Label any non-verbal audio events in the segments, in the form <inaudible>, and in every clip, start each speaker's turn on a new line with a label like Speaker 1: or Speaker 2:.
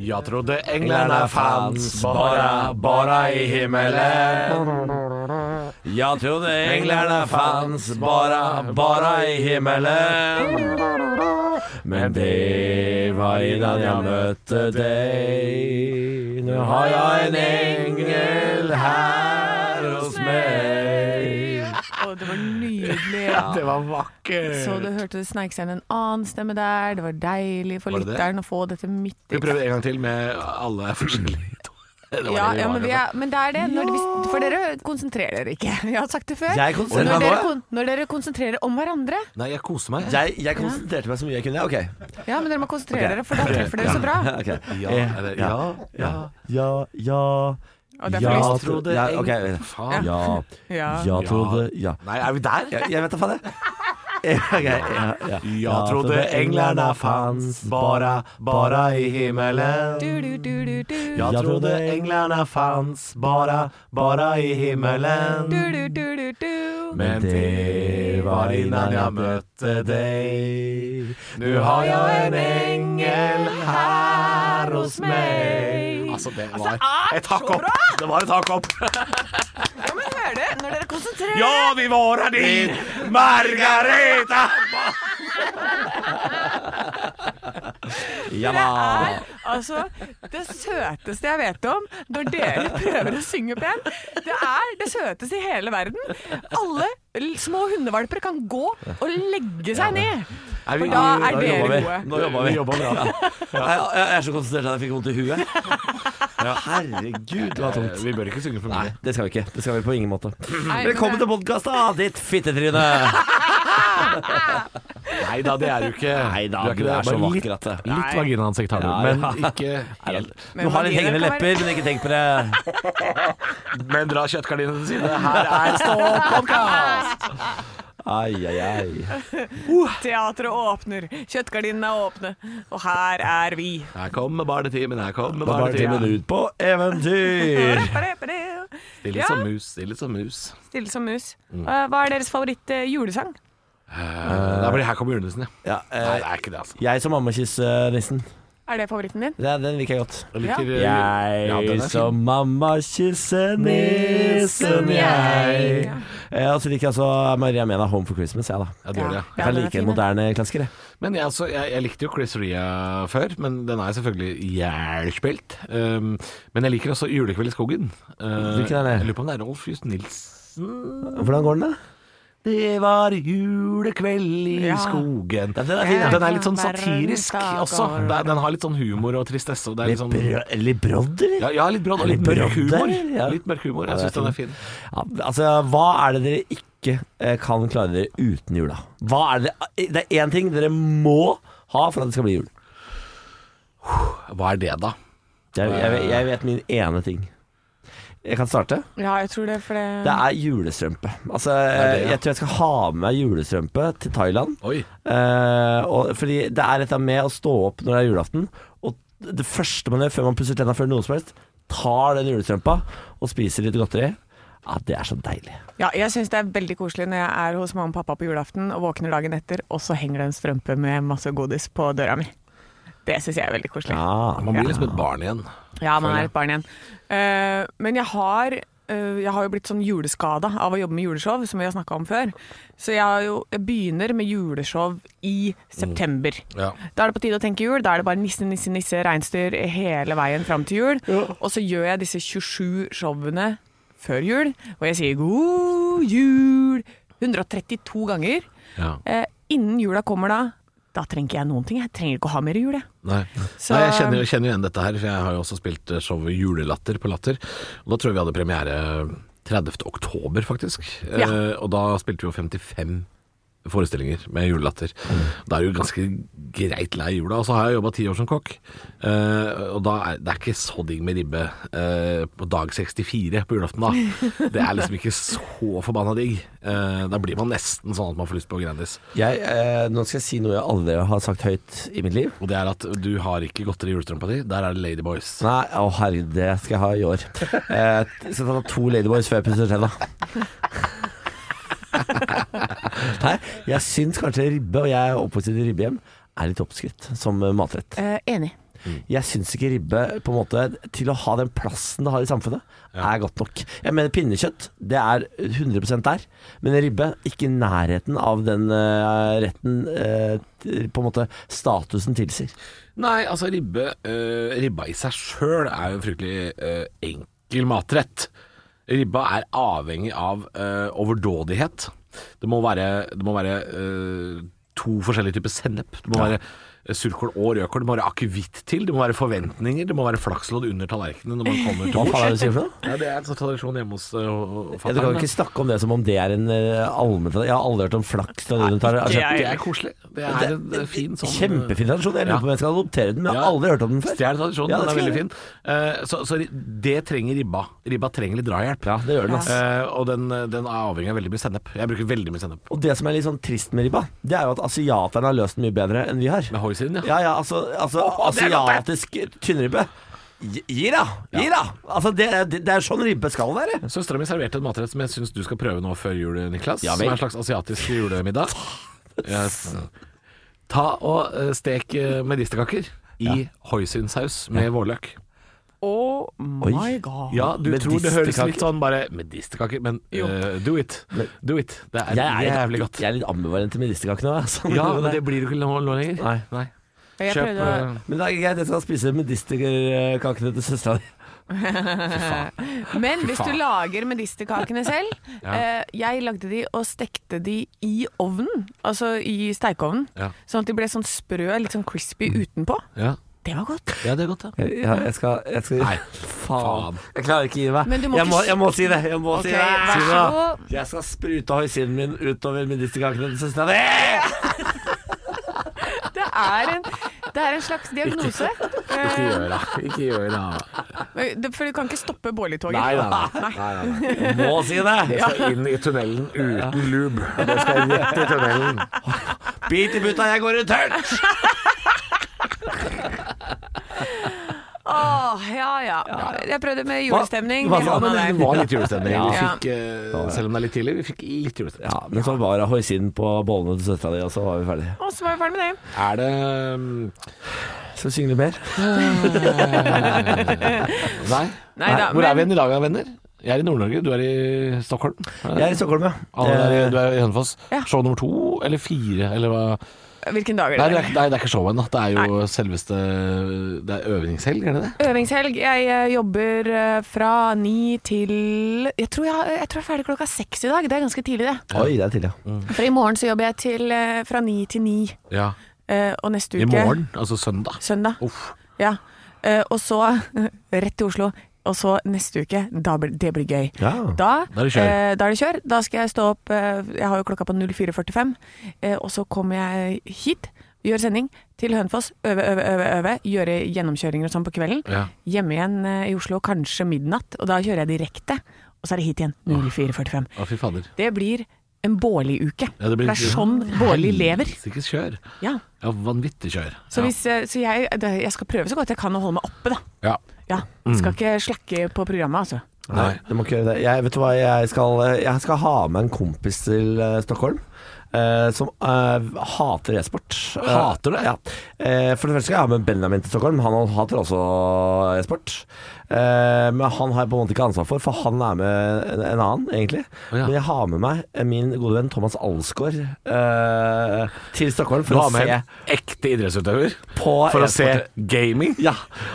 Speaker 1: Jag trodde änglarna fanns bara, bara i himmelen Jag trodde änglarna fanns bara, bara i himmelen Men det var innan jag mötte dig Nu har jag en ängel här hos mig
Speaker 2: Å, det var nydelig.
Speaker 1: Det var vakkert.
Speaker 2: Så du hørte det sneik seg inn en annen stemme der. Det var deilig for
Speaker 1: Var det det?
Speaker 2: lytteren å få dette midt
Speaker 1: Vi
Speaker 2: i.
Speaker 1: prøver en gang til med alle forskjellige <laughs> Det var
Speaker 2: Ja,
Speaker 1: det vi
Speaker 2: ja
Speaker 1: var
Speaker 2: men, vi
Speaker 1: med på.
Speaker 2: er, men det er det. Når vi, for dere konsentrerer dere ikke. <laughs> Jeg har sagt det før.
Speaker 3: Jeg konsentrerer
Speaker 2: når,
Speaker 1: meg nå,
Speaker 2: dere,
Speaker 1: jeg.
Speaker 2: kon- når dere konsentrerer om hverandre
Speaker 1: Nei, jeg koser meg.
Speaker 3: Jeg, jeg konsentrerte meg så mye jeg kunne. Ok.
Speaker 2: Ja, men dere må konsentrere
Speaker 3: Ok.
Speaker 2: dere, for da treffer dere så bra.
Speaker 3: Ok.
Speaker 1: <laughs> Ja,
Speaker 3: Eh,
Speaker 1: eller,
Speaker 3: ja,
Speaker 1: ja, ja.
Speaker 3: Ja, ja
Speaker 2: Og det er
Speaker 3: Ja,
Speaker 2: for
Speaker 1: Jeg
Speaker 2: lyst.
Speaker 1: trodde
Speaker 3: Ja,
Speaker 1: eng-
Speaker 3: ok.
Speaker 1: Faen.
Speaker 3: Ja,
Speaker 2: Ja.
Speaker 3: ja trodde Ja.
Speaker 1: Nei, er vi der?
Speaker 3: Jeg, jeg vet da faen, jeg. Ok, ja, ja.
Speaker 1: Jeg trodde englene fanns bara, bara i himmelen.
Speaker 2: Du, du, du, du, du.
Speaker 1: Jeg trodde englene fanns bara, bara i
Speaker 2: Du,
Speaker 1: himmelen.
Speaker 2: du, du, du, du.
Speaker 1: Men det var innan jeg møtte deg. Nu har jeg en engel her hos meg. Altså, det var et hakk opp. Det var et hakk opp.
Speaker 2: Ah, Ja, men hører du? Når dere konsentrerer
Speaker 1: Ja, vi våra din <laughs> Margareta!
Speaker 3: Ja
Speaker 2: Det
Speaker 3: da.
Speaker 2: er altså det søteste jeg vet om når dere prøver å synge pent. Det er det søteste i hele verden. Alle l- små hundevalper kan gå og legge seg ned.
Speaker 1: Nei, vi-
Speaker 2: For da er
Speaker 1: nå
Speaker 2: dere
Speaker 1: jobber vi.
Speaker 2: gode.
Speaker 1: Nå jobber vi. bra.
Speaker 3: Jeg, jeg, jeg er så konsentrert at jeg fikk vondt i huet. Herregud, det var
Speaker 1: Eh,
Speaker 3: tungt.
Speaker 1: Vi bør ikke synge for
Speaker 3: Nei,
Speaker 1: mye.
Speaker 3: det skal vi ikke. Det skal vi på ingen måte.
Speaker 2: Nei, men
Speaker 3: Velkommen
Speaker 2: det-
Speaker 3: til podkast, da, ditt fittetryne.
Speaker 1: Nei da, det er du ikke.
Speaker 3: Neida,
Speaker 1: du er, ikke
Speaker 3: du
Speaker 1: det.
Speaker 3: er så
Speaker 1: Bare
Speaker 3: vakker at det-
Speaker 1: Litt, litt
Speaker 2: Nei.
Speaker 1: vaginaansikt har du,
Speaker 3: Ja,
Speaker 1: men <laughs>
Speaker 3: ja.
Speaker 1: ikke helt.
Speaker 3: Du har litt hengende lepper, men ikke tenk på det.
Speaker 1: Men dra kjøttgardinene til side. Her
Speaker 3: <laughs>
Speaker 1: er Ståpodkast!
Speaker 3: Ai, ai, ai.
Speaker 2: Teatret åpner, kjøttgardinene er åpne, og her er vi.
Speaker 1: Her kommer barnetimen, her kommer
Speaker 3: Da var det timen
Speaker 1: barnetimen.
Speaker 3: ut på eventyr.
Speaker 1: Stille
Speaker 2: Ja.
Speaker 1: som mus, stille som mus.
Speaker 2: Stille som mus.
Speaker 3: Mm.
Speaker 2: Eh, Hva er deres favoritt-julesang?
Speaker 1: Eh, Da blir det her kommer julenissen, ja.
Speaker 3: Ja,
Speaker 1: Nei,
Speaker 3: eh,
Speaker 1: det er ikke det, altså.
Speaker 3: jeg som mammakyssenissen.
Speaker 2: Er det favoritten din?
Speaker 3: Ja, den liker jeg godt.
Speaker 1: Jeg liker eh, ja, den
Speaker 3: Jeg
Speaker 1: er fin.
Speaker 3: som mammakyssenissen, jeg.
Speaker 2: Ja.
Speaker 3: Eh, Og så liker jeg altså Maria Mena Home for Christmas, jeg, da.
Speaker 1: Ja, det gjør jeg.
Speaker 2: Ja,
Speaker 3: Jeg kan
Speaker 2: den er
Speaker 3: like
Speaker 2: fin,
Speaker 3: en
Speaker 2: den.
Speaker 3: moderne klassiker, jeg.
Speaker 1: Men jeg, altså, jeg, jeg likte jo Chris Ria før, men den er selvfølgelig jævlspilt. Um, men jeg liker også 'Julekveld i skogen'. Uh,
Speaker 3: Hvilken er det?
Speaker 1: Jeg lurer på om det er Rolf Just Nilsen.
Speaker 3: Hvordan går den, da?
Speaker 1: Det var julekveld i
Speaker 2: Ja.
Speaker 1: skogen.
Speaker 3: Ja, den er fin, ja.
Speaker 1: Den er litt sånn satirisk
Speaker 2: Verdensdager.
Speaker 1: også. Det er- Den har litt sånn humor og tristesse. Og det er litt
Speaker 3: Litt,
Speaker 1: sånn
Speaker 3: bro- litt brodd, eller?
Speaker 1: ja, ja, litt brodd og litt
Speaker 3: Litt
Speaker 1: mørk
Speaker 3: brodd der,
Speaker 1: humor.
Speaker 3: ja.
Speaker 1: Litt mørk humor. Jeg
Speaker 3: Ja,
Speaker 1: syns
Speaker 3: det er
Speaker 1: den er fin.
Speaker 3: Ja, altså, hva er det dere ikke eh, kan klare dere uten jula? Hva er det, eh, det er én ting dere må ha for at det skal bli jul.
Speaker 1: Hva er det, da?
Speaker 3: Jeg, jeg, jeg vet min ene ting. Jeg kan starte.
Speaker 2: Ja, jeg tror det, for det
Speaker 3: Det er julestrømpe. Altså,
Speaker 1: det, ja.
Speaker 3: Jeg tror jeg skal ha med meg julestrømpe til Thailand.
Speaker 1: Oi.
Speaker 3: Eh, og, fordi det er dette med å stå opp når det er julaften, og det første man gjør før man pusser tenna før noe som helst, tar den julestrømpa og spiser litt godteri. Ja, det er så deilig.
Speaker 2: Ja, jeg syns det er veldig koselig når jeg er hos mamma og pappa på julaften og våkner dagen etter, og så henger det en strømpe med masse godis på døra mi. Det syns jeg er veldig koselig. Ja,
Speaker 3: Ja.
Speaker 1: Man blir liksom et barn igjen.
Speaker 2: man er et barn igjen. Eh, men jeg har eh, jeg har jo blitt sånn juleskada av å jobbe med juleshow, som vi har snakka om før. Så jeg, har jo, jeg begynner med juleshow i september.
Speaker 1: Ja.
Speaker 2: Da er det på tide å tenke jul. Da er det bare nisse, nisse, nisse, reinsdyr hele veien fram til jul. Og så gjør jeg disse 27 showene før jul, og jeg sier god jul 132 ganger.
Speaker 1: ja.
Speaker 2: Eh, innen jula kommer da, da trenger ikke jeg noen ting. Jeg trenger ikke å ha mer jul, jeg.
Speaker 1: Nei.
Speaker 2: Så-
Speaker 1: Nei, jeg kjenner, jeg kjenner igjen dette her, for jeg har jo også spilt eh, showet Julelatter på Latter. Og da tror jeg vi hadde premiere 30. oktober, faktisk.
Speaker 2: Ja.
Speaker 1: Eh, og da spilte vi jo 55 forestillinger med julelatter.
Speaker 2: Mm.
Speaker 1: Da er du ganske greit lei jula. Og så har jeg jobba ti år som kokk, eh, og da er det er ikke så digg med ribbe eh, på dag 64 på julaften, da. Det er liksom ikke så forbanna digg. Eh, da blir man nesten sånn at man får lyst på Grandis.
Speaker 3: Jeg, eh, nå skal jeg si noe jeg aldri har sagt høyt i mitt liv.
Speaker 1: Og det er at du har ikke godteri i julestrømpa di, der er det Ladyboys.
Speaker 3: Nei, å herregud, det skal jeg ha i år. Eh, skal ta to Ladyboys før jeg pusser tenna. Nei, jeg syns kanskje ribbe, og jeg er oppvokst i et ribbehjem, er litt oppskrytt som eh, matrett.
Speaker 2: enig.
Speaker 3: Jeg syns ikke ribbe på en måte til å ha den plassen det har i samfunnet, er godt nok. Jeg mener pinnekjøtt, det er 100 der, men ribbe ikke i nærheten av den eh, retten eh, t- på en måte statusen tilsier.
Speaker 1: Nei, altså ribbe øh, Ribba i seg sjøl er jo en fryktelig øh, enkel matrett. Ribba er avhengig av øh, overdådighet. Det må være, det må være øh, to forskjellige typer sennep. Det må være øh, surkål og rødkål. Det må være akevitt til. Det må være forventninger. Det må være flakslodd under tallerkenen når man kommer til
Speaker 3: Hva faen
Speaker 1: bords.
Speaker 3: er det du sier for noe?
Speaker 1: Ja, det er en sånn tradisjon hjemme hos øh,
Speaker 3: Ja, du kan
Speaker 1: fatter'n.
Speaker 3: ikke snakke om det som om det er en uh, allmenn Jeg har aldri hørt om flaks. da du tar-
Speaker 2: ikke jeg.
Speaker 1: det er koselig. Det er en øh, fin sånn øh,
Speaker 3: Kjempefin tradisjon. Jeg lurer
Speaker 1: Ja.
Speaker 3: på om jeg skal adoptere den, men jeg
Speaker 1: Ja.
Speaker 3: har aldri hørt om den før.
Speaker 1: Stjel tradisjonen,
Speaker 3: Ja,
Speaker 1: den
Speaker 3: det
Speaker 1: er
Speaker 3: skal
Speaker 1: veldig
Speaker 3: jeg
Speaker 1: fin. Eh, så, så ri- det trenger ribba. Ribba trenger litt drahjelp.
Speaker 3: Ja, det gjør den, ass.
Speaker 1: Eh, og den, den er avhengig av veldig mye sennep. Jeg bruker veldig mye sennep.
Speaker 3: Og det som er litt sånn trist med ribba, det er jo at asiaterne har løst den mye bedre enn vi har.
Speaker 1: Med hoisin, ja.
Speaker 3: Ja, ja, altså, altså
Speaker 1: Å, det er godt, det!
Speaker 3: asiatisk tynnribbe. Gi gi da! Gi da! Altså, det, er- det er sånn ribbe skal være.
Speaker 1: Søstera mi serverte en matrett som jeg syns du skal prøve nå før jul, Niklas.
Speaker 3: Ja,
Speaker 1: som
Speaker 3: vel.
Speaker 1: er en slags asiatisk julemiddag. Yes. Ta og eh, stek eh, medisterkaker i hoisinsaus med vårløk.
Speaker 2: Oh my
Speaker 3: Oi.
Speaker 2: god.
Speaker 1: Ja, du tror det høres
Speaker 3: Medisterkaker.
Speaker 1: litt sånn bare Medisterkaker, men eh, do it. Do it. Det er jævlig godt.
Speaker 3: Jeg er litt ambivalent til medisterkakene. Altså. <laughs>
Speaker 1: Ja, men det blir du ikke nå nå lenger.
Speaker 3: Nei.
Speaker 2: Jeg
Speaker 1: Kjøp
Speaker 2: prøvde å-
Speaker 1: eh,
Speaker 3: Men det er greit, jeg skal spise medisterkakene til søstera di.
Speaker 1: Fy faen.
Speaker 2: <laughs> Men
Speaker 1: Fy
Speaker 2: hvis du
Speaker 1: faen.
Speaker 2: lager medisterkakene
Speaker 1: <laughs>
Speaker 2: selv eh, Jeg lagde de og stekte de i ovnen, altså i steikeovnen.
Speaker 1: Ja. Mm.
Speaker 2: Sånn at de ble sånn sprø, litt sånn crispy utenpå.
Speaker 1: Ja.
Speaker 2: Det var godt.
Speaker 1: ja, det er godt, ja.
Speaker 3: Jeg, jeg, jeg skal, jeg skal
Speaker 1: Nei,
Speaker 3: faen. Jeg klarer ikke å gi meg.
Speaker 2: Men du må
Speaker 3: jeg,
Speaker 2: ikke
Speaker 3: må,
Speaker 2: s-
Speaker 3: jeg må si det. Jeg må
Speaker 2: Ok,
Speaker 3: si det.
Speaker 2: vær
Speaker 3: Si det.
Speaker 2: så god.
Speaker 3: Jeg skal sprute hoisinen min utover medisterkakene til søstera di.
Speaker 2: Det er en, det er en slags diagnose.
Speaker 1: Ikke gjør det. Ikke gjør det.
Speaker 2: Eh, det- For du kan ikke stoppe Bårli-toget.
Speaker 1: Nei, nei, nei. <laughs>
Speaker 3: Jeg må si det.
Speaker 1: Jeg skal inn i tunnelen uten lube. Det skal rett i tunnelen.
Speaker 3: Bit i butta, jeg går i tørt!
Speaker 2: <laughs> Åh, ja, ja. Jeg prøvde med julestemning.
Speaker 3: Hva-
Speaker 2: Vi
Speaker 3: hva-
Speaker 2: havna
Speaker 3: men-
Speaker 1: Det
Speaker 2: der.
Speaker 1: var litt julestemning. Vi
Speaker 2: Ja.
Speaker 1: fikk, eh, selv om det er litt tidlig, vi fikk litt julestemning.
Speaker 3: Ja, men så var det hoisinen på bollene til søstera di, og så var vi ferdige.
Speaker 2: Og så var vi ferdig med det.
Speaker 1: Er det <laughs> um,
Speaker 3: Skal vi synge litt mer?
Speaker 1: Nei.
Speaker 2: Nei da,
Speaker 1: Hvor er vi
Speaker 2: men-
Speaker 1: igjen i dag, da, venner? Jeg er i Nord-Norge, du er i Stockholm.
Speaker 3: Jeg er i Stockholm, ja.
Speaker 1: Alle Ah, er i,
Speaker 3: Eh,
Speaker 1: du er i Hønefoss.
Speaker 2: Ja.
Speaker 1: Show nummer to eller fire, eller hva?
Speaker 2: Hvilken dag
Speaker 1: Nei, det
Speaker 2: er det?
Speaker 1: er, nei, det er ikke show ennå. Det er jo selveste Det er øvingshelg, er det det?
Speaker 2: Øvingshelg. Jeg eh, jobber eh, fra ni til jeg tror jeg, jeg tror jeg er ferdig klokka seks i dag. Det er ganske tidlig, det.
Speaker 3: Eh, Oi, det er tidlig, ja.
Speaker 2: For i morgen så jobber jeg til, eh, fra ni til ni.
Speaker 1: Ja.
Speaker 2: Eh, Og neste uke
Speaker 1: I morgen, altså søndag.
Speaker 2: Søndag.
Speaker 1: Uff.
Speaker 2: Ja. Eh, Og så <laughs> rett til Oslo. Og så neste uke. Da blir, det blir gøy.
Speaker 3: Ja.
Speaker 2: Da,
Speaker 1: Da er det kjør.
Speaker 2: eh, da er det kjør. Da skal jeg stå opp eh, Jeg har jo klokka på 04.45. eh, og så kommer jeg hit, gjør sending til Hønefoss. Øve, øve, øve. øve Gjøre gjennomkjøringer og sånn på kvelden.
Speaker 1: Ja.
Speaker 2: Hjemme igjen eh, i Oslo kanskje midnatt, og da kjører jeg direkte. Og så er det hit igjen 04.45.
Speaker 1: Å, fy fader.
Speaker 2: Det blir en Bårli-uke.
Speaker 1: Ja, det blir-
Speaker 2: For det er sånn Bårli lever.
Speaker 1: Helsikes kjør.
Speaker 2: Ja.
Speaker 1: Ja, vanvittig kjør.
Speaker 2: Så, hvis, eh, så jeg, det- jeg skal prøve så godt jeg kan å holde meg oppe, da.
Speaker 1: Ja.
Speaker 2: Ja,
Speaker 1: Mm.
Speaker 2: skal ikke slakke på programmet, altså.
Speaker 1: Nei.
Speaker 3: Du må ikke gjøre det. Jeg, vet du hva, jeg skal, jeg skal ha med en kompis til eh, Stockholm. eh, som eh, hater e-sport. Eh,
Speaker 1: Hater det?
Speaker 3: Ja. Eh, for det første skal jeg ha med Benjamin til Stockholm. Han hater også e-sport. Eh, men han har jeg på en måte ikke ansvar for, for han er med en, en annen, egentlig.
Speaker 1: Å, ja.
Speaker 3: Men jeg har med meg eh, min gode venn Thomas Alsgaard eh, til Stockholm
Speaker 1: Du
Speaker 3: for å
Speaker 1: har med
Speaker 3: se
Speaker 1: en ekte idrettsutøver
Speaker 3: på
Speaker 1: for å
Speaker 3: e-sport.
Speaker 1: se gaming.
Speaker 3: Ja,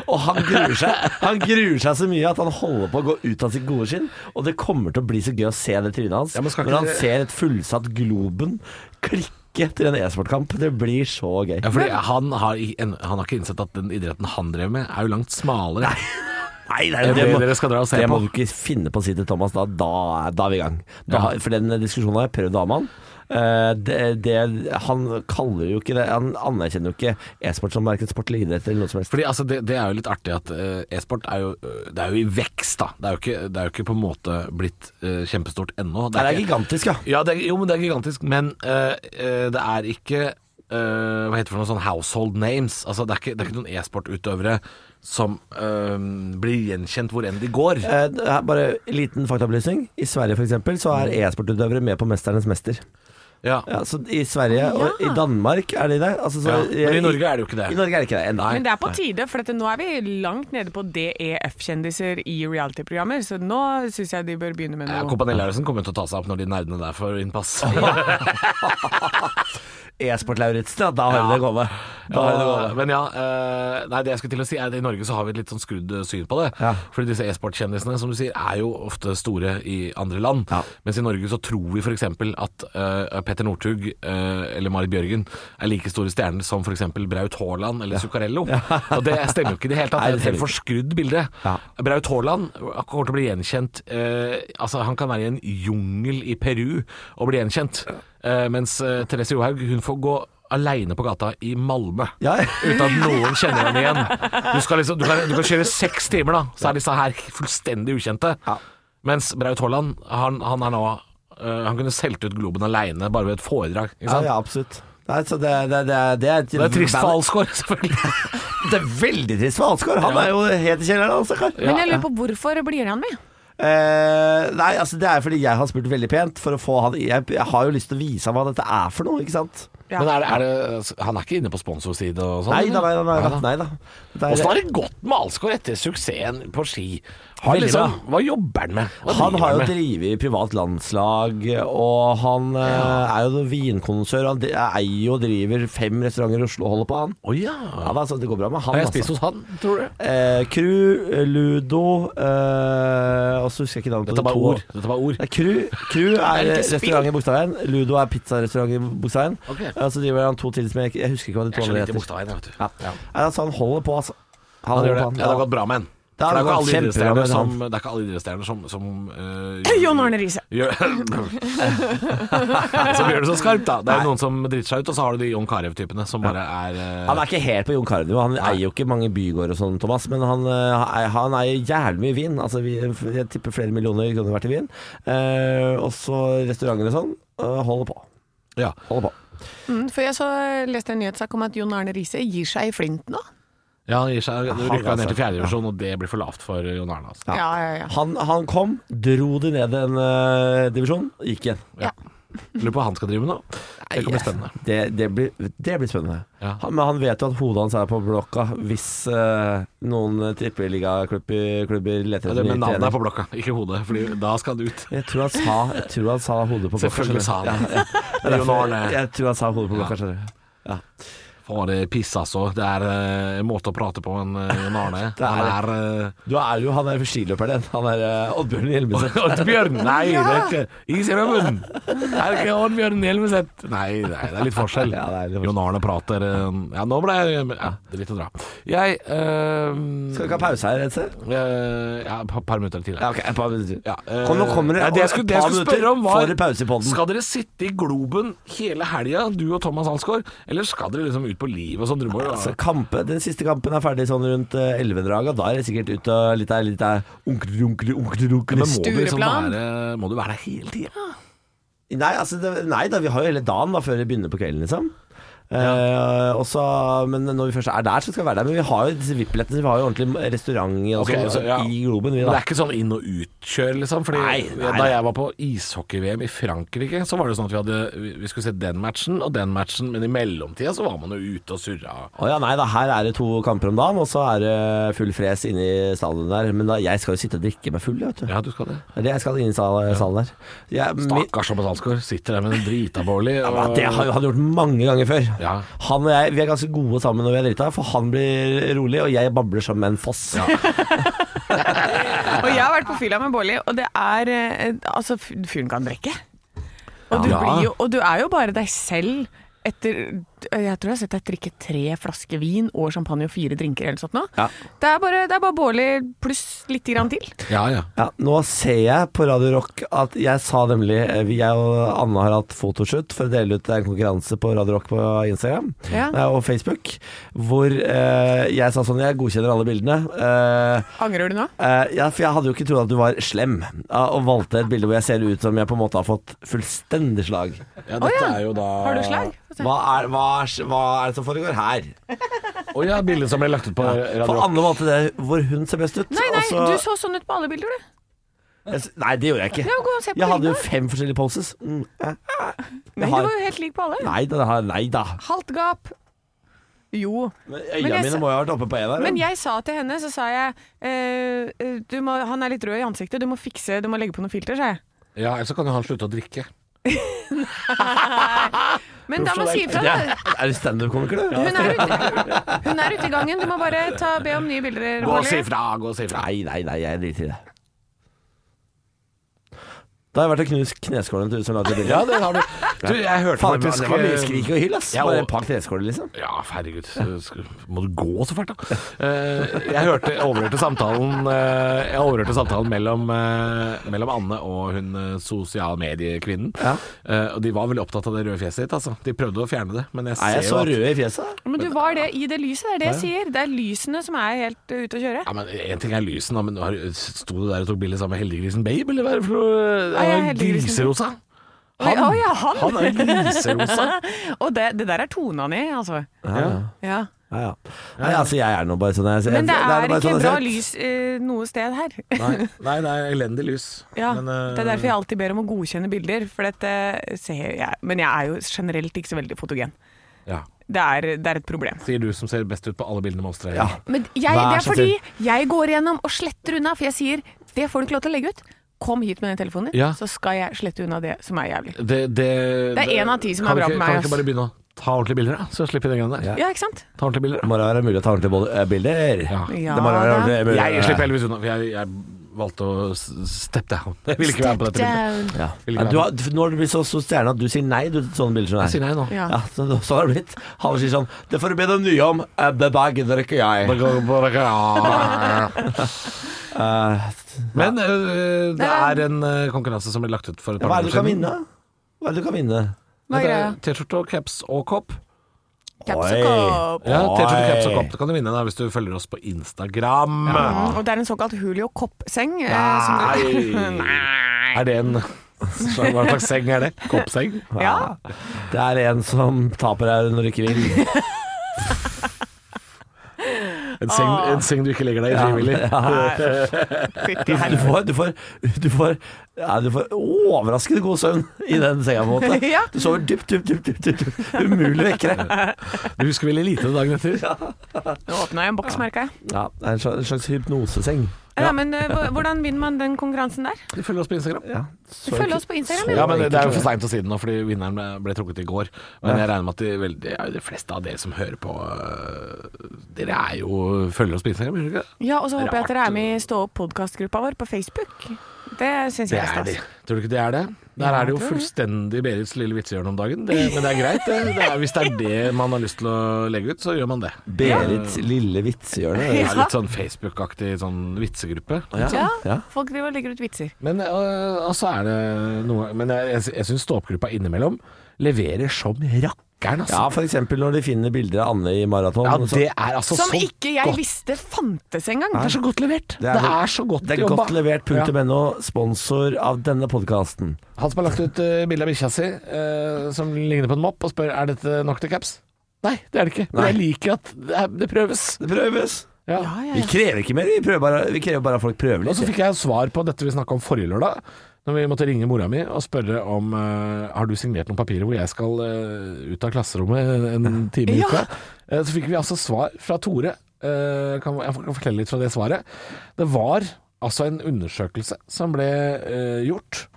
Speaker 3: og han gruer seg Han gruer seg så mye at han holder på å gå ut av sitt gode skinn. Og det kommer til å bli så gøy å se det trynet hans
Speaker 1: Ja, men skal
Speaker 3: når han
Speaker 1: ikke-
Speaker 3: ser et fullsatt Globen klikke til en e-sportkamp. Det blir så gøy.
Speaker 1: Ja, fordi han har, i- en- han har ikke innsett at den idretten han drev med, er jo langt smalere.
Speaker 3: Nei, nei,
Speaker 1: Det
Speaker 3: det, må,
Speaker 1: dere skal dra og se
Speaker 3: det må
Speaker 1: på.
Speaker 3: du ikke finne på å si til Thomas. Da, da, er- da er vi i gang. Da, For den diskusjonen har jeg prøvd å ha med han. Eh, det, det, han kaller jo ikke det Han anerkjenner jo ikke e-sport som verken sport eller idrett eller noe som helst.
Speaker 1: Fordi altså, det, det er jo litt artig at eh, e-sport er jo, eh, det er jo i vekst, da. Det er jo ikke, det er jo ikke på en måte blitt eh, kjempestort ennå.
Speaker 3: Det er gigantisk, ja.
Speaker 1: Ja, det er, jo, men det er gigantisk. Men eh, eh, det er ikke eh, Hva heter det for noe sånn household names? Altså, det er ikke, det er ikke noen e-sportutøvere som eh, blir gjenkjent hvor enn de går.
Speaker 3: Eh, det er bare en liten faktaopplysning. I Sverige for eksempel, så er e-sportutøvere med på Mesternes mester.
Speaker 1: Ja.
Speaker 3: Ja, så I Sverige og i Danmark er de det. Altså, så,
Speaker 1: Ja, men i
Speaker 3: jeg-
Speaker 1: Norge er det jo ikke
Speaker 3: I
Speaker 1: det.
Speaker 3: Norge er det ikke det ennå.
Speaker 1: Nei.
Speaker 2: Men det er på tide, for dette, nå er vi langt nede på DEF-kjendiser i reality-programmer, så nå syns jeg de bør begynne med
Speaker 1: Ja,
Speaker 2: noe.
Speaker 1: Kompani Lauritzen kommer til å ta seg opp når de nerdene der får innpass.
Speaker 3: E-sport Lauritzen, ja, da har vi det gående. Da har vi det gående.
Speaker 1: Ja, men ja, eh, nei, det jeg skulle til å si er at i Norge så har vi et litt sånn skrudd eh, syn på det.
Speaker 3: Ja.
Speaker 1: Fordi disse e-sportkjendisene som du sier er jo ofte store i andre land.
Speaker 3: Ja.
Speaker 1: Mens i Norge så tror vi f.eks. at eh, Petter Northug eh, eller Marit Bjørgen er like store stjerner som f.eks. Braut Haaland eller Zuccarello. Og det stemmer jo ikke i det hele tatt.
Speaker 3: Nei,
Speaker 1: Det er et helt
Speaker 3: det stemmer
Speaker 1: forskrudd bilde.
Speaker 3: Ja.
Speaker 1: Braut Haaland kommer til å bli gjenkjent eh, Altså, han kan være i en jungel i Peru og bli gjenkjent. Eh, mens eh, Therese Johaug, hun får gå aleine på gata i Malmö.
Speaker 3: Ja.
Speaker 1: Uten at noen kjenner henne igjen. Du, skal liksom, du, kan, du kan kjøre seks timer, da, så er disse her fullstendig ukjente.
Speaker 3: Ja.
Speaker 1: Mens Braut Haaland, han, han er nå eh, Han kunne solgt ut Globen aleine bare ved et foredrag. Ikke
Speaker 3: Ja,
Speaker 1: sant?
Speaker 3: ja, absolutt. Nei, så det, det, det, er- det, er,
Speaker 1: Det er trist for Alsgaard, <laughs> selvfølgelig.
Speaker 3: Det er veldig trist for Alsgaard. Han er jo helt i kjelleren, altså, han stakkar.
Speaker 2: Men jeg lurer på hvorfor blir han med?
Speaker 3: Eh, nei, altså det er fordi jeg har spurt veldig pent for å få han Jeg, jeg har jo lyst til å vise ham hva dette er for noe, ikke sant?
Speaker 2: Ja.
Speaker 1: Men er det, er det, altså, han er ikke inne på sponsorside og sånn?
Speaker 3: Nei da, nei da. Nei, da,
Speaker 1: Neida.
Speaker 3: nei, da. Det er-
Speaker 1: Åssen har det gått med Alsgaard etter suksessen på ski? Har
Speaker 3: Veldig
Speaker 1: liksom, hva jobber han med? Hva
Speaker 3: han
Speaker 1: driver
Speaker 3: har jo
Speaker 1: med?
Speaker 3: drevet privat landslag, og han eh, er jo vinkonsør. Han dri- eier jo og driver fem restauranter i Oslo og holder på, han.
Speaker 1: Å ja.
Speaker 3: Ja, da, så det går bra med
Speaker 1: Har
Speaker 3: han. altså.
Speaker 1: jeg spist hos han, tror du?
Speaker 3: Eh, Crew, Ludo eh, Og så husker jeg ikke navnet på
Speaker 1: Dette
Speaker 3: de
Speaker 1: var
Speaker 3: to.
Speaker 1: ord. Dette var ord.
Speaker 3: Ja, Crew,
Speaker 1: <laughs>
Speaker 3: Crew er
Speaker 2: ikke spill.
Speaker 3: restaurant i Bogstadveien. Ludo er pizzarestaurant i Bogstadveien.
Speaker 1: Ok.
Speaker 3: Og så driver han to til som jeg, jeg husker ikke hva
Speaker 1: Jeg
Speaker 3: de
Speaker 1: er
Speaker 3: to
Speaker 1: så
Speaker 3: andre
Speaker 1: lite
Speaker 3: heter.
Speaker 1: bokstav vet du.
Speaker 3: Ja. Nei, Altså, han holder på, altså. Han,
Speaker 1: Han
Speaker 3: holder
Speaker 1: gjør det.
Speaker 3: på, han.
Speaker 1: Ja, det har gått bra med han.
Speaker 3: Det har
Speaker 1: For Det er ikke
Speaker 3: gått
Speaker 1: alle
Speaker 3: kjempebra med
Speaker 1: idrettsstjerner
Speaker 3: han.
Speaker 1: som, det er ikke alle idrettsstjerner som, som øh,
Speaker 2: Jon Arne Riise.
Speaker 1: <laughs> gjør, som gjør det så skarpt, da. Det er jo noen som driter seg ut, og så har du de Jon Carew-typene som bare er øh,
Speaker 3: Han er ikke helt på Jon Carew. Han eier jo ikke mange bygårder og sånn, Thomas, men han, eh, han eier jævlig mye vin. Altså, vi, jeg tipper flere millioner kroner verdt i vin. Eh, og så restauranter og sånn. eh, holder på.
Speaker 1: ja.
Speaker 3: Holder på.
Speaker 2: Mm, for jeg så leste en nyhetssak om at Jon Arne Riise gir seg i flint nå.
Speaker 1: ja, han gir seg
Speaker 3: Han,
Speaker 1: rykka ned
Speaker 3: altså.
Speaker 1: til fjerdedivisjon, og det blir for lavt for Jon Arne. Altså.
Speaker 3: Ja.
Speaker 2: Ja, ja, ja.
Speaker 3: Han, han kom, dro de ned en eh, divisjon, gikk igjen.
Speaker 1: Lurer på hva han skal drive med nå. Det kan bli spennende.
Speaker 3: Det, det, blir, det blir spennende.
Speaker 1: Ja.
Speaker 3: Han, men han vet jo at hodet hans er på blokka hvis eh, noen tippeligaklubber klubber leter
Speaker 1: Ja,
Speaker 3: etter
Speaker 1: det,
Speaker 3: ny
Speaker 1: men navnet er
Speaker 3: trener.
Speaker 1: på blokka, ikke hodet. Fordi da skal han
Speaker 3: <laughs>
Speaker 1: ut.
Speaker 3: Jeg tror han sa, jeg tror han sa hodet på blokka.
Speaker 1: Selvfølgelig sa
Speaker 3: skjønner
Speaker 1: han <laughs>
Speaker 3: du.
Speaker 1: det.
Speaker 3: Det er
Speaker 1: Jon
Speaker 3: derfor-
Speaker 1: Arne.
Speaker 3: Jeg tror han sa hodet på blokka. skjønner du.
Speaker 1: Fare piss, altså. Det er eh, en måte å prate på en eh, Jon Arne.
Speaker 3: <laughs> er
Speaker 1: Han er eh, <laughs>
Speaker 3: Du er jo han der skiløperen din. Han er eh, Oddbjørn Hjelmeset.
Speaker 1: Oddbjørn! Nei, det er ikke Is i rømmen! Er det ikke Oddbjørn Hjelmeset? Nei, nei, det er litt forskjell.
Speaker 3: Ja, det er litt forskjell.
Speaker 1: Jon Arne prater eh, Ja, nå ble jeg ja, Det er litt å dra. Jeg eh,
Speaker 3: Skal vi ikke ha pause her et sted?
Speaker 1: eh, Ja, et par minutter til.
Speaker 3: Ja, ok, et par minutter.
Speaker 1: Ja, eh,
Speaker 3: Kom, nå kommer det,
Speaker 1: nei, det jeg skulle, det jeg
Speaker 3: et par
Speaker 1: skulle
Speaker 3: minutter
Speaker 1: spørre om var
Speaker 3: Får du pause i podden?
Speaker 1: Skal dere sitte i Globen hele helga, du og Thomas Alsgaard? Eller skal dere liksom ut på livet og sånn? Dere må jo-
Speaker 3: Altså, kampe, den siste kampen er ferdig sånn rundt eh, 11-draget. Da er det sikkert ut og litt av litt av onkel, onkel, onkel,
Speaker 1: Men
Speaker 3: onkel.
Speaker 1: må du, liksom
Speaker 2: Stureplan?
Speaker 1: være, må du være der hele tida?
Speaker 3: Nei, altså, det, nei da, vi har jo hele dagen da før vi begynner på kvelden, liksom. Eh, og så- men når vi først er der, så skal vi være der. Men vi har jo disse VIP-billettene. Vi har jo ordentlig restaurant i- altså,
Speaker 1: Ok, så, ja.
Speaker 3: i Globen. Vi,
Speaker 1: Men det
Speaker 3: da.
Speaker 1: er ikke sånn inn- og utkjør, liksom? Fordi
Speaker 3: Nei,
Speaker 1: Da
Speaker 3: nei, nei.
Speaker 1: jeg var på ishockey-VM i Frankrike, så var det sånn at vi, hadde, vi- vi skulle se den matchen og den matchen, men i mellomtida så var man jo ute og surra.
Speaker 3: Å ja, nei da, her er det to kamper om dagen, og så er det full fres inne i stadion der. Men da, jeg skal jo sitte og drikke meg full, vet du.
Speaker 1: Ja, du skal det.
Speaker 3: Det er det jeg skal inn i sal- salen der. Jeg, min,
Speaker 1: Stakkars Thomas Alsgaard sitter der med en drita Bårli.
Speaker 3: Ja, men det har jo han gjort mange ganger før.
Speaker 1: Ja.
Speaker 3: Han og jeg vi er ganske gode sammen når vi er drita, for han blir rolig, og jeg babler som en foss.
Speaker 2: Og jeg har vært på fylla med Bårli, og det er eh, Altså, f- fyren kan drikke. Og du,
Speaker 1: Ja.
Speaker 2: blir jo, og du er jo bare deg selv etter Jeg tror jeg har sett deg drikke tre flasker vin og champagne og fire drinker eller noe sånt nå.
Speaker 3: Ja.
Speaker 2: Det er bare, det er bare Bårli pluss litt grann til.
Speaker 1: Ja, ja.
Speaker 3: Ja, nå ser jeg på Radio Rock at jeg sa nemlig eh, vi- Jeg og Anne har hatt fotoshoot for å dele ut en konkurranse på Radio Rock på Instagram
Speaker 2: Ja.
Speaker 3: eh, og Facebook, hvor eh, jeg sa sånn Jeg godkjenner alle bildene. Eh,
Speaker 2: Angrer du nå?
Speaker 3: Eh, ja, for jeg hadde jo ikke trodd at du var slem, ja, og valgte et bilde hvor jeg ser ut som jeg på en måte har fått fullstendig slag.
Speaker 1: ja
Speaker 2: Å
Speaker 1: dette
Speaker 2: ja.
Speaker 1: er jo da
Speaker 2: Har du slag? Altså, Få se.
Speaker 3: Hva er, hva, er, hva er det som foregår her?
Speaker 1: Å ja, bildet som ble lagt ut på Radio
Speaker 3: For
Speaker 1: Rock.
Speaker 3: Anne valgte det hvor hun ser best ut.
Speaker 2: Nei, nei,
Speaker 3: og så-
Speaker 2: du så sånn ut på alle bilder, du.
Speaker 3: Jeg s- Nei, det gjorde jeg ikke.
Speaker 2: Ja, gå og se på
Speaker 3: Jeg hadde jo
Speaker 2: ribba.
Speaker 3: fem forskjellige poses. Mm. eh.
Speaker 2: Nei,
Speaker 3: Jeg
Speaker 2: du
Speaker 3: har,
Speaker 2: var jo helt lik på alle.
Speaker 3: nei da, det har- nei da.
Speaker 2: Halvt gap. Jo.
Speaker 3: Men
Speaker 2: Men
Speaker 3: Øya
Speaker 2: jeg
Speaker 3: mine
Speaker 2: sa-
Speaker 3: må jo ha vært oppe på en her.
Speaker 2: Men
Speaker 3: ja.
Speaker 2: jeg sa til henne, så sa jeg eh, eh, du må, Han er litt rød i ansiktet, du må fikse, du må legge på noe filter, sa jeg.
Speaker 1: Ja, ellers så kan jo han slutte å drikke.
Speaker 2: Men da må jeg si ifra, da.
Speaker 3: Det- Er du standup-komiker, du?
Speaker 2: Hun er, ute, hun er ute i gangen, du må bare ta, be om nye bilder.
Speaker 1: Gå og si
Speaker 2: Molly.
Speaker 1: ifra, gå og si ifra.
Speaker 3: Nei, nei, nei, jeg driter i det. Da har jeg vært og knust kneskålen til hun som lagde bildet.
Speaker 1: Ja, det har du. Du, jeg hørte
Speaker 3: Faen, det var-
Speaker 1: faktisk
Speaker 3: det var mye
Speaker 1: eh,
Speaker 3: skrik og hyll, ass.
Speaker 1: Ja,
Speaker 3: Bare
Speaker 1: og-
Speaker 3: et par kneskåler, liksom.
Speaker 1: Ja, herregud. Skal- Må du gå så fælt, da? Eh, Jeg hørte, overhørte samtalen eh, Jeg overhørte samtalen mellom, eh, mellom Anne og hun eh, sosialmediekvinnen.
Speaker 3: Ja.
Speaker 1: Eh, Og de var veldig opptatt av det røde fjeset ditt, altså. De prøvde å fjerne det, men jeg
Speaker 3: Er
Speaker 1: ser
Speaker 3: jeg så
Speaker 1: jo at
Speaker 3: rød i fjeset?
Speaker 2: Men du var det i det lyset, det er det jeg sier. Det er lysene som er helt eh, ute å kjøre.
Speaker 1: ja, men En ting er lysen, da, men har- sto du der og tok bilde sammen med Heldiggrisen Babe, eller hva er det for noe?
Speaker 2: Nei, jeg er
Speaker 1: Han er
Speaker 2: Heldiggrisen.
Speaker 1: Griserosa.
Speaker 2: Oi, å ja, han.
Speaker 1: han er griserosa.
Speaker 2: <laughs> Og det, det der er tona ni, altså.
Speaker 3: Ja, ja.
Speaker 2: Ja.
Speaker 3: Ja, ja. Nei, altså, jeg er nå bare sånn jeg,
Speaker 2: Men det
Speaker 3: jeg-
Speaker 2: er
Speaker 3: bare
Speaker 2: ikke
Speaker 3: sånn jeg
Speaker 2: bra
Speaker 3: ser ut.
Speaker 2: lys eh, noe sted her.
Speaker 1: Nei, nei, det er elendig lys.
Speaker 2: Ja,
Speaker 1: Men, eh,
Speaker 2: Det er derfor jeg alltid ber om å godkjenne bilder. For dette ser jeg, men jeg er jo generelt ikke så veldig fotogen.
Speaker 1: ja.
Speaker 2: Det er, det er et problem.
Speaker 1: Sier du som ser best ut på alle bildene med oss tre.
Speaker 3: Ja.
Speaker 2: Men jeg,
Speaker 3: Vær
Speaker 2: det er
Speaker 3: så
Speaker 2: fordi jeg går igjennom og sletter unna, for jeg sier det får du ikke lov til å legge ut. Kom hit med den telefonen din,
Speaker 1: Ja.
Speaker 2: så skal jeg slette unna det som er jævlig.
Speaker 1: Det, det,
Speaker 2: Det er en av ti som
Speaker 1: kan
Speaker 2: er bra
Speaker 1: ikke,
Speaker 2: på meg,
Speaker 1: Kan vi
Speaker 2: ass.
Speaker 1: ikke bare begynne å ta ordentlige bilder, da? Så slipper vi den gangen der.
Speaker 2: Ja, ikke sant?
Speaker 1: Ta ordentlige bilder.
Speaker 3: Må da være mulig å ta ordentlige både- eh, bilder?
Speaker 1: Ja.
Speaker 2: Ja,
Speaker 3: det må da være
Speaker 2: da.
Speaker 3: ordentlig mulig.
Speaker 1: Jeg slipper heldigvis unna, for jeg, jeg valgte å s- step down. Jeg ville ikke være med på dette bildet.
Speaker 2: Down.
Speaker 3: Ja.
Speaker 1: Vil ikke
Speaker 3: Ja, du har, du- nå har du blitt så stor stjerne at du sier nei du, til sånne bilder som det
Speaker 1: Jeg sier nei nå.
Speaker 2: Ja.
Speaker 3: Ja, så, sånn har det blitt. Han sier sånn Det får du be dem nye om. Eh, Det bare gidder ikke jeg.
Speaker 1: Det går bare ikke- Ja.
Speaker 3: Eh,
Speaker 1: <laughs> Men øh, det er en øh, konkurranse som ble lagt ut for et
Speaker 3: hva
Speaker 1: par
Speaker 3: er det du kan vinne? Hva er det du kan vinne?
Speaker 2: Hva er
Speaker 1: Det er
Speaker 2: greia?
Speaker 1: T-skjorte og caps og kopp.
Speaker 2: Caps
Speaker 3: Oi.
Speaker 2: og kopp.
Speaker 1: Ja, T-skjorte, caps og
Speaker 3: Oi.
Speaker 1: kopp. Det kan du vinne da, hvis du følger oss på Instagram.
Speaker 2: Mm, og det er en såkalt Hulio Kopp-seng. eh, som du- <laughs>
Speaker 1: Nei. Er det en Hva slags seng er det? Koppseng?
Speaker 2: Ja.
Speaker 3: Det er en som taper deg når du ikke vil.
Speaker 1: En seng, en seng du ikke legger deg i frivillig?
Speaker 2: Fytti
Speaker 3: Du, du
Speaker 2: helvete.
Speaker 3: får, du får, du får, ja, du får overraskende god søvn i den senga, på en måte.
Speaker 2: <laughs> Ja.
Speaker 3: Du sover dypt, dypt, dypt. dypt, dypt, dypt. Umulig vekkere.
Speaker 1: Du husker veldig lite dagen etter?
Speaker 2: Nå åpna jeg en boks, merka jeg.
Speaker 3: Ja, det er en slags- en slags hypnoseseng.
Speaker 2: Ja, men eh, hv- hvordan vinner man den konkurransen der?
Speaker 1: Du følger oss på Instagram.
Speaker 3: Ja, så
Speaker 2: Følg
Speaker 3: enkelt.
Speaker 2: oss på Instagram,
Speaker 3: Så
Speaker 1: Ja, men det, det er jo
Speaker 3: enkelt.
Speaker 1: for seint å si det nå, fordi vinneren ble- ble trukket i går. Men jeg regner med at de, vel, det er jo de fleste av dere som hører på øh, Dere er jo følger oss på Instagram, gjør dere ikke?
Speaker 2: Ja, og så håper jeg at dere
Speaker 1: Rart.
Speaker 2: er med i Stå opp podkastgruppa vår på Facebook. Det syns
Speaker 1: Det
Speaker 2: jeg er
Speaker 1: er de.
Speaker 2: stas.
Speaker 1: Tror du ikke det er det? Der
Speaker 2: Ja,
Speaker 1: er det jo
Speaker 2: jeg tror det.
Speaker 1: fullstendig Berits lille vitsehjørne om dagen. Det, men det er greit, det. det er, hvis det er det man har lyst til å legge ut, så gjør man det.
Speaker 3: Berits lille
Speaker 2: <laughs>
Speaker 3: vitsehjørne.
Speaker 1: Det er litt sånn Facebook-aktig sånn vitsegruppe.
Speaker 2: Ja,
Speaker 3: Ja.
Speaker 2: folk driver og legger ut vitser.
Speaker 1: Men øh, altså er det noe Men jeg, jeg, jeg syns stå-opp-gruppa innimellom leverer som rakkeren, altså.
Speaker 3: Ja, for eksempel når de finner bilder av Anne i maraton.
Speaker 1: Ja,
Speaker 3: så-
Speaker 1: det er altså
Speaker 2: Som
Speaker 1: så
Speaker 2: ikke jeg
Speaker 1: godt.
Speaker 2: visste fantes engang.
Speaker 1: Det er så godt levert. Det
Speaker 3: er
Speaker 1: er,
Speaker 3: godt-
Speaker 1: så godt
Speaker 3: det er
Speaker 1: jobba.
Speaker 3: godt levert. Punktum NO, sponsor av denne podkasten.
Speaker 1: Ja. Han som har lagt ut uh, bilde av bikkja si eh, som ligner på en mopp, og spør er dette nok til caps. Nei, det er det ikke. Men
Speaker 3: Nei.
Speaker 1: jeg liker at det, er, det prøves.
Speaker 3: Det prøves.
Speaker 1: Ja.
Speaker 2: Ja, ja,
Speaker 3: Vi
Speaker 2: ja.
Speaker 3: krever ikke mer, vi, prøver bare, vi krever bare at folk prøver
Speaker 1: Og så
Speaker 3: litt.
Speaker 1: fikk jeg svar på dette vi snakka om forrige lørdag. Når vi måtte ringe mora mi og spørre om eh, har du signert noen papirer hvor jeg skal eh, ut av klasserommet en time i
Speaker 2: Ja.
Speaker 1: uka. Eh, så fikk vi altså svar fra Tore. Eh, kan, jeg kan fortelle litt fra det svaret. Det var altså en undersøkelse som ble eh, gjort.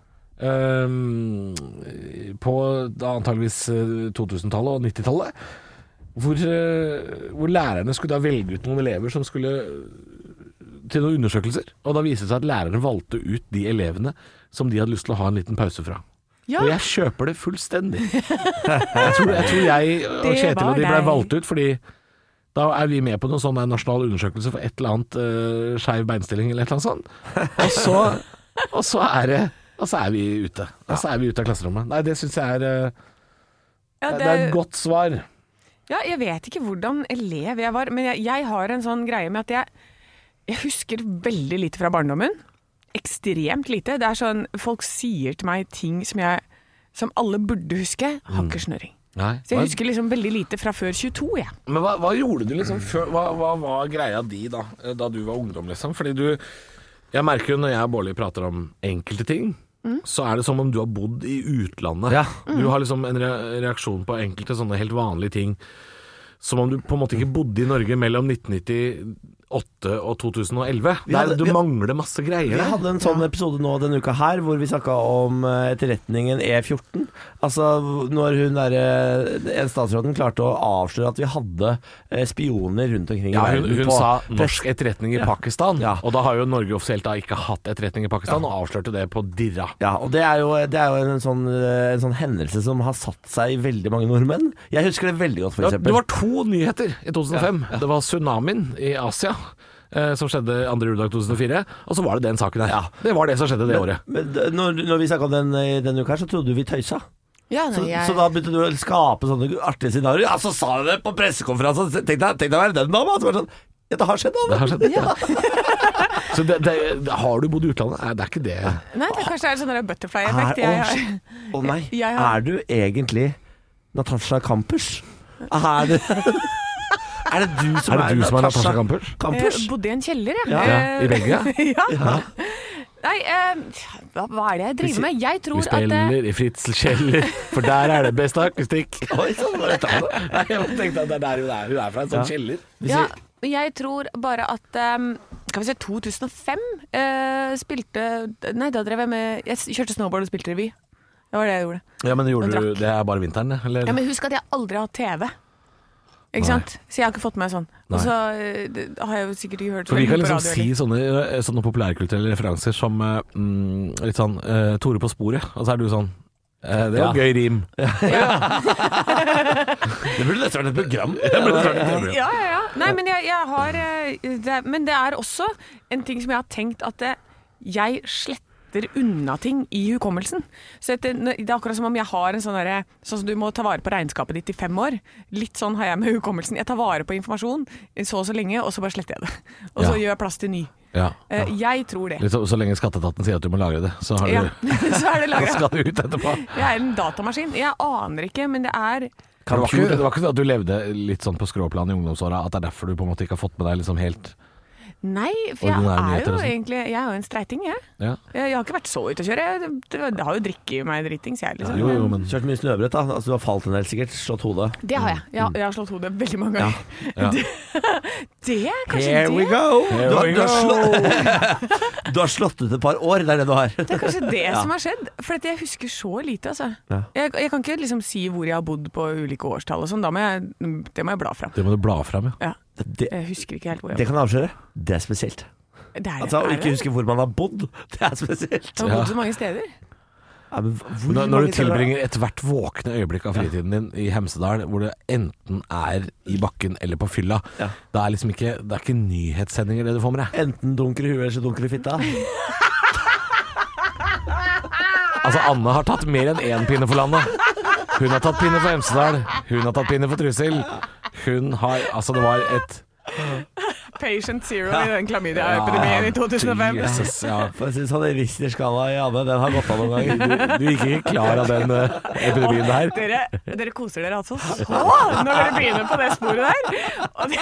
Speaker 1: eh, på da antageligvis eh, 2000-tallet og 90-tallet. Hvor, eh, hvor lærerne skulle da velge ut noen elever som skulle eh, til noen undersøkelser, og da viste det seg at lærerne valgte ut de elevene som de hadde lyst til å ha en liten pause fra.
Speaker 2: Ja.
Speaker 1: Og jeg kjøper det fullstendig.
Speaker 2: <laughs>
Speaker 1: jeg, tror, jeg tror jeg og
Speaker 2: Det
Speaker 1: Kjetil
Speaker 2: var
Speaker 1: og de ble
Speaker 2: deg.
Speaker 1: valgt ut fordi da er vi med på noen sånn der nasjonal undersøkelse for et eller annet uh, skeiv beinstilling eller et eller annet sånt. Og så, og så er det og så er vi ute. Og så er vi ute av klasserommet. Nei, det syns jeg er eh,
Speaker 2: Ja,
Speaker 1: Det
Speaker 2: det
Speaker 1: er et
Speaker 2: er,
Speaker 1: godt svar.
Speaker 2: ja, jeg vet ikke hvordan elev jeg var, men jeg, jeg har en sånn greie med at jeg, jeg husker veldig lite fra barndommen. Ekstremt lite. Det er sånn, Folk sier til meg ting som, jeg, som alle burde
Speaker 1: Mm.
Speaker 2: huske. Har ikke snøring.
Speaker 1: Nei.
Speaker 2: Så jeg husker liksom veldig lite fra før 22, jeg.
Speaker 1: Men hva, hva gjorde du liksom før hva, hva var greia di da, eh, da du var ungdom, liksom? Fordi du jeg Jeg merker jo når jeg og Bårli prater om enkelte ting, så er det som om du har bodd i utlandet.
Speaker 3: Ja.
Speaker 1: Du har liksom en re- reaksjon på enkelte sånne helt vanlige ting. Som om du på en måte ikke bodde i Norge mellom 1998 og 2011.
Speaker 3: Vi
Speaker 1: Der,
Speaker 3: hadde-
Speaker 1: du
Speaker 3: vi-
Speaker 1: mangler masse greier.
Speaker 3: Vi
Speaker 1: der.
Speaker 3: hadde en sånn episode nå denne uka her hvor vi snakka om eh, etterretningen E14. Altså når hun der, eh, en statsråden klarte å avsløre at vi hadde eh, spioner rundt omkring
Speaker 1: Ja,
Speaker 3: i
Speaker 1: hun,
Speaker 3: verden.
Speaker 1: hun
Speaker 3: på
Speaker 1: sa
Speaker 3: press-
Speaker 1: norsk etterretning i Pakistan,
Speaker 3: Ja.
Speaker 1: og da har jo Norge offisielt da ikke hatt etterretning i Pakistan, og avslørte det på dirra.
Speaker 3: Ja, og det er jo, det er jo en, sånn, eh, en sånn hendelse som har satt seg i veldig mange nordmenn. Jeg husker det veldig godt, for
Speaker 1: Ja, det
Speaker 3: eksempel.
Speaker 1: var to nyheter i 2005. Det var tsunamien i Asia, eh, som skjedde andre juledag 2004, og så var det den saken her.
Speaker 3: Ja.
Speaker 1: Det var det som skjedde det året.
Speaker 3: Men d- når, når vi snakka om den eh, denne uka her, så trodde du vi tøysa.
Speaker 2: Ja,
Speaker 3: Så,
Speaker 2: nei, jeg,
Speaker 3: så da begynte du å skape sånne artige scenarioer. Ja, så sa du det på pressekonferansen! Tenk deg tenk deg å være den dama! Så var det sånn, ja, det har skjedd, da.
Speaker 1: Det har skjedd. Så det, det, har du bodd i utlandet? Nei, det er ikke det.
Speaker 2: nei, det er kanskje det er sånn der butterfly-effekt.
Speaker 3: Er,
Speaker 2: Jeg,
Speaker 3: å,
Speaker 2: har-
Speaker 3: shit. Å nei,
Speaker 2: Jeg har-
Speaker 3: er du egentlig Natasha Kampers? Er
Speaker 2: <laughs>
Speaker 3: det, er det du som
Speaker 1: Er det
Speaker 3: er,
Speaker 1: du som er Natasha Kampusch?
Speaker 3: Kampers?
Speaker 2: jeg Eh, bodde i en kjeller, jeg.
Speaker 3: Ja.
Speaker 1: Ja, I
Speaker 2: Eh,
Speaker 1: Belgia?
Speaker 2: <laughs> ja. Nei, eh, hva, hva er det jeg driver med? Jeg
Speaker 1: Vi
Speaker 2: tror at eh,
Speaker 1: spiller i Fritzel Kjeller, for der er det best akustikk.
Speaker 2: Eh,
Speaker 3: Oi, sånn var det da.
Speaker 1: <laughs> Nei, jeg tenkte at det er der hun er. Hun er fra en sånn
Speaker 3: Ja.
Speaker 1: kjeller.
Speaker 2: ja, men Jeg tror bare at eh, Skal vi se, 2005 eh, spilte Nei, da drev jeg med Jeg s- kjørte snowboard og spilte revy. Det var det jeg gjorde.
Speaker 1: Ja, men gjorde
Speaker 2: Hun
Speaker 1: du Det er bare vinteren, det, eller?
Speaker 2: Ja, men husk at jeg aldri har hatt TV.
Speaker 1: Nei.
Speaker 2: Ikke sant? Så jeg har ikke fått med sånn.
Speaker 1: Nei.
Speaker 2: Og så eh, det- har jeg jo sikkert ikke hørt
Speaker 1: For vi
Speaker 2: veldig
Speaker 1: kan
Speaker 2: mye
Speaker 1: liksom
Speaker 2: på radio,
Speaker 1: si
Speaker 2: eller?
Speaker 1: sånne, sånne populærkulturelle referanser som eh, mm, litt sånn eh, Tore på sporet, og så er du sånn eh, Det er jo
Speaker 3: <laughs> Ja.
Speaker 1: gøy rim. <laughs>
Speaker 3: Det burde nesten vært et
Speaker 1: <laughs>
Speaker 3: program.
Speaker 2: Ja, ja, ja. Nei, men jeg, jeg har eh, det, Men det er også en ting som jeg har tenkt at eh, jeg sletter unna ting i hukommelsen. Så at det, det er akkurat som om jeg har en sånn derre Sånn som du må ta vare på regnskapet ditt i fem år. Litt sånn har jeg med hukommelsen. Jeg tar vare på informasjon i så og så lenge, og så bare sletter jeg det. Og så
Speaker 1: Ja.
Speaker 2: gjør jeg plass til ny.
Speaker 1: Ja.
Speaker 2: Eh, Jeg tror det.
Speaker 1: Litt så, så lenge skatteetaten sier at du må lagre det, så har du
Speaker 2: Ja. <laughs> Så er
Speaker 1: <laughs>
Speaker 2: det
Speaker 1: så
Speaker 2: lagra.
Speaker 1: skal du ut etterpå.
Speaker 2: Jeg er en datamaskin. Jeg aner ikke, men det er
Speaker 1: Det var, ikke, det var ikke sånn at du levde litt sånn på skråplan i ungdomsåra, at det er derfor du på en måte ikke har fått med deg liksom helt
Speaker 2: Nei, for jeg
Speaker 1: Ordinære
Speaker 2: er
Speaker 1: nyheter
Speaker 2: jo
Speaker 1: og sånn.
Speaker 2: egentlig Jeg er jo en streiting, jeg.
Speaker 1: ja.
Speaker 2: Jeg jeg har ikke vært så ute å kjøre. Jeg- Det det har jo drikke i meg dritings, jeg. Liksom.
Speaker 1: Jo, jo,
Speaker 2: Men
Speaker 1: men
Speaker 3: Kjørt mye snøbrett, da. Altså, du har falt en del, sikkert. Slått hodet.
Speaker 2: Det har jeg. Jeg, har- Mm. jeg har slått hodet veldig mange ganger. <laughs>
Speaker 1: ja.
Speaker 2: Det er kanskje
Speaker 3: Here we
Speaker 2: det.
Speaker 3: go!
Speaker 1: Here
Speaker 3: Du har,
Speaker 1: we
Speaker 3: du, har
Speaker 1: go.
Speaker 3: slått, du har slått ut et par år, det er det du har.
Speaker 2: <laughs> Det er kanskje det som har skjedd. For at jeg husker så lite, altså.
Speaker 3: Ja.
Speaker 2: Jeg, jeg kan ikke liksom si hvor jeg har bodd på ulike årstall og sånn. Da må jeg, det må jeg bla fram.
Speaker 1: Det må du bla fram, ja.
Speaker 2: Ja.
Speaker 3: Det,
Speaker 2: Jeg husker ikke helt hvor jeg
Speaker 3: det
Speaker 2: har
Speaker 3: kan jeg avsløre. Det er spesielt.
Speaker 2: bodd. Det er,
Speaker 3: Altså,
Speaker 2: er
Speaker 3: Å ikke
Speaker 2: det.
Speaker 3: huske hvor man har bodd, <laughs> det er spesielt.
Speaker 2: Jeg har bodd så mange steder.
Speaker 3: Ja, men hvor
Speaker 1: Når,
Speaker 3: Mm, mange
Speaker 1: når du
Speaker 3: steder-
Speaker 1: tilbringer ethvert våkne øyeblikk av fritiden din i Hemsedal, hvor du enten er i bakken eller på fylla,
Speaker 3: Ja.
Speaker 1: det er liksom ikke, det er ikke nyhetssendinger det du får med deg.
Speaker 3: Enten dunker i huet eller så dunker i fitta.
Speaker 1: Altså, Anne har tatt mer enn én pinne for landet. Hun har tatt pinne for Hemsedal. Hun har tatt pinne for Trysil. Hun har Altså, det var et
Speaker 2: Patient zero i den klamydia-epidemien i 2005.
Speaker 1: Jesus, ja.
Speaker 3: For å si det sånn, en Richter-skala i Anne, den har gått av noen ganger.
Speaker 1: Du gikk ikke klar av den eh, epidemien der.
Speaker 2: Dere, dere koser dere altså så når dere begynner på det sporet der. Og det,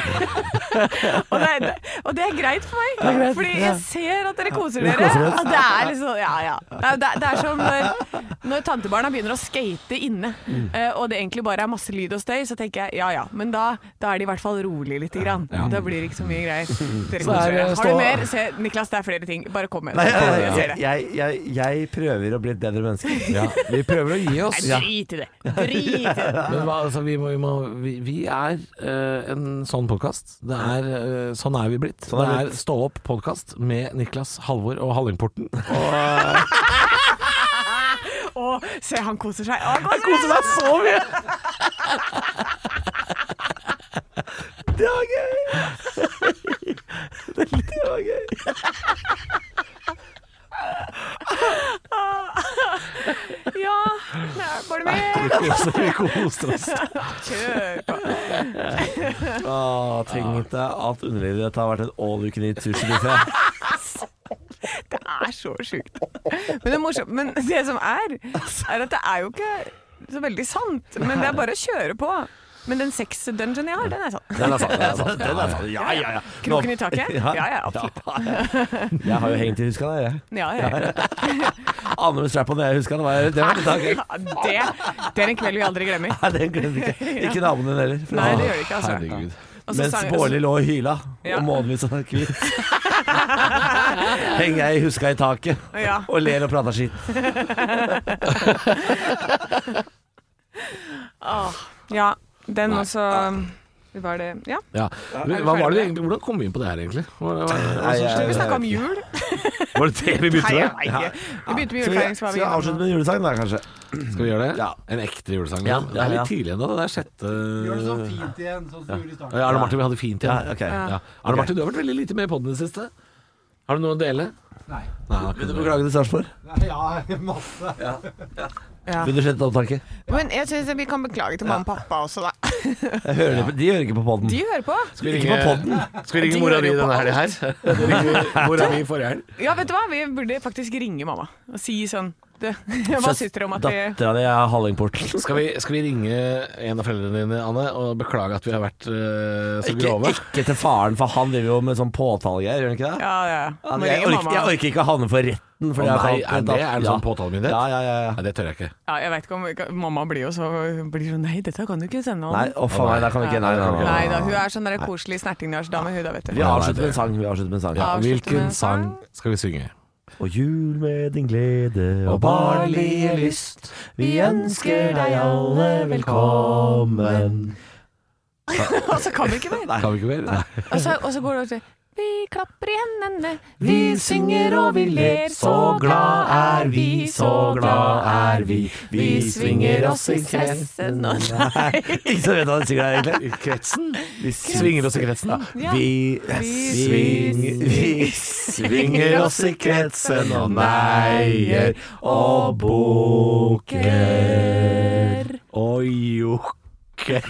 Speaker 2: og det, er, og det er greit for meg, fordi jeg ser at dere koser dere. Og det er liksom Ja, ja. Det er, det er som når, når tantebarna begynner å skate inne, eh, og det egentlig bare er masse lyd og støy, så tenker jeg ja ja, men da, da er de i hvert fall rolig lite grann. Da blir det ikke så mye greier. Dere
Speaker 1: er
Speaker 2: koser
Speaker 1: det
Speaker 2: dere. Har
Speaker 1: stå-
Speaker 2: du mer? Se, Niklas, det er flere ting. Bare kom med
Speaker 3: Nei,
Speaker 2: det.
Speaker 3: jeg,
Speaker 2: Jeg ser det.
Speaker 3: jeg, jeg, jeg prøver å bli et bedre menneske.
Speaker 1: Ja, vi prøver å gi oss.
Speaker 2: Nei, Drit i det. Drit i det.
Speaker 1: Men hva, altså, vi, må, vi, må, vi, vi er eh, en sånn podkast. sånn er vi blitt.
Speaker 3: Sånn er
Speaker 1: det
Speaker 3: vi
Speaker 1: er Stå opp-podkast med Niklas, Halvor og
Speaker 3: <laughs>
Speaker 1: Hallingporten.
Speaker 2: Å, se, han koser seg. Å, han koser seg.
Speaker 3: deg så mye! Det var gøy! Det var gøy.
Speaker 2: Ja, det er bare med.
Speaker 1: <laughs> vi koser oss.
Speaker 2: Kjør på.
Speaker 3: Åh, tenk deg at underlivet ditt har vært en all you can eat sushi-buffé.
Speaker 2: Det er så sjukt. Men det, er morsomt. men det som er, er at det er jo ikke så veldig sant. Men det er bare å kjøre på. Men den sexdungen jeg har, den er sånn.
Speaker 3: Den er sant. Den er sant. Den er sant. Ja, ja, ja.
Speaker 2: Kroken
Speaker 3: Nå-
Speaker 2: i taket? Ja, ja, absolutt.
Speaker 3: Jeg har jo hengt i huska der, jeg.
Speaker 2: Ja, ja, ja.
Speaker 3: Aner med strap-on jeg huska. Det var, det var litt artig.
Speaker 2: Ja, Det, det er en kveld vi aldri glemmer.
Speaker 3: Nei, den glemte jeg ikke. Ikke naboen din heller.
Speaker 2: Nei, det gjør det ikke, altså.
Speaker 1: Herregud.
Speaker 2: Og så
Speaker 3: Mens
Speaker 2: sang-
Speaker 3: Bårli lå og hyla,
Speaker 2: Ja.
Speaker 3: og månen min satt hvit. Henger jeg i huska i taket
Speaker 2: Ja.
Speaker 3: og ler og prater skitt.
Speaker 2: Åh, ja, den også Var det Ja.
Speaker 1: Ja.
Speaker 2: vi
Speaker 1: Hva var det vi
Speaker 2: ferdige?
Speaker 1: egentlig, hvordan kom vi inn på det her, egentlig? Hva, hva,
Speaker 3: Nei, jeg-
Speaker 2: Vi snakka om jul.
Speaker 1: var det det vi begynte
Speaker 2: Nei, jeg
Speaker 1: med?
Speaker 2: vet ikke. Vi begynte med
Speaker 3: Skal vi,
Speaker 2: julefeiring, så
Speaker 3: skal
Speaker 2: var
Speaker 3: vi
Speaker 2: vi
Speaker 3: avslutte med en julesang, da, kanskje?
Speaker 1: Skal vi gjøre det?
Speaker 3: Ja.
Speaker 1: En ekte julesang?
Speaker 3: Ja,
Speaker 1: liksom. Det er
Speaker 3: ja, ja.
Speaker 1: litt tidlig ennå. Det er sjette
Speaker 4: Gjør det sånn fint igjen, sånn som du gjorde i starten.
Speaker 1: Ja, Arne Martin, vi hadde fint
Speaker 3: Ja,
Speaker 1: igjen.
Speaker 3: ok.
Speaker 2: Ja.
Speaker 1: Ja. Arne Martin, du har vært veldig lite med i podden i det siste. Har du noe å dele?
Speaker 4: Nei.
Speaker 1: Nei, har ikke
Speaker 3: Vil du
Speaker 1: det.
Speaker 3: beklage til Sarpsborg?
Speaker 4: Nei, Ja, <laughs> masse.
Speaker 2: Ja.
Speaker 3: Vil du slette opptaket?
Speaker 2: Men jeg syns vi kan beklage til mamma og pappa også, da.
Speaker 3: Jeg hører det, på- de hører ikke på podden.
Speaker 2: De hører på.
Speaker 1: Skal
Speaker 3: Ikke på podden.
Speaker 1: Skal vi
Speaker 2: De
Speaker 1: ringe mora
Speaker 2: hører
Speaker 1: di
Speaker 2: jo på
Speaker 1: denne helga <laughs> her? Ringe Mora mi forrige helg.
Speaker 2: Ja, vet du hva? Vi burde faktisk ringe mamma og si sånn Du, <laughs> hva syns dere om at vi
Speaker 3: Dattera di er hallingport.
Speaker 1: Skal vi, skal vi ringe en av foreldrene dine, Anne, og beklage at vi har vært eh, så
Speaker 3: Ikke,
Speaker 1: grove?
Speaker 3: ikke til faren, for han driver jo med sånn påtalegreier, gjør han ikke det?
Speaker 2: Ja, ja. ja.
Speaker 3: Ja,
Speaker 2: Må
Speaker 3: jeg,
Speaker 2: ringe
Speaker 3: orker,
Speaker 2: mamma.
Speaker 3: jeg orker ikke å havne for retten.
Speaker 1: Å
Speaker 3: Fordi jeg
Speaker 1: nei,
Speaker 3: har
Speaker 1: er
Speaker 3: tatt-
Speaker 1: det, er det sånn
Speaker 3: Ja.
Speaker 1: påtalemyndighet?
Speaker 3: Ja, ja, ja. ja.
Speaker 1: Nei, det tør jeg ikke.
Speaker 2: Ja, jeg vet ikke om Mamma blir jo så hun blir sånn Nei, dette kan du ikke sende
Speaker 3: Nei,
Speaker 2: om.
Speaker 3: å faen, nei, da kan vi ikke. Nei, nei, nei.
Speaker 2: Nei da, hun er sånn der koselig snertingdalsdame, hun da, vet du.
Speaker 3: Vi avslutter med en sang. Vi avslutter med en sang.
Speaker 1: Ja,
Speaker 2: Avslutte med
Speaker 1: hvilken
Speaker 2: en
Speaker 1: sang
Speaker 2: sang.
Speaker 1: skal vi synge?
Speaker 3: Og jul med din glede og barnlige lyst. Vi ønsker deg alle velkommen.
Speaker 2: <laughs> Og så kan vi ikke mer.
Speaker 1: Kan vi ikke mer? Nei.
Speaker 2: Og så, og så går det over til Vi klapper i hendene, vi synger og vi ler. Så glad er vi, så glad er vi. Vi svinger oss i kretsen og
Speaker 3: Nei, <laughs> ikke så vet hva den synger der, egentlig.
Speaker 1: I kretsen?
Speaker 3: Vi
Speaker 1: Svinger oss i kretsen, da.
Speaker 2: Ja.
Speaker 3: Vi, svinger,
Speaker 2: <laughs>
Speaker 3: vi svinger oss i kretsen og neier og bukker
Speaker 1: Oi, jokker.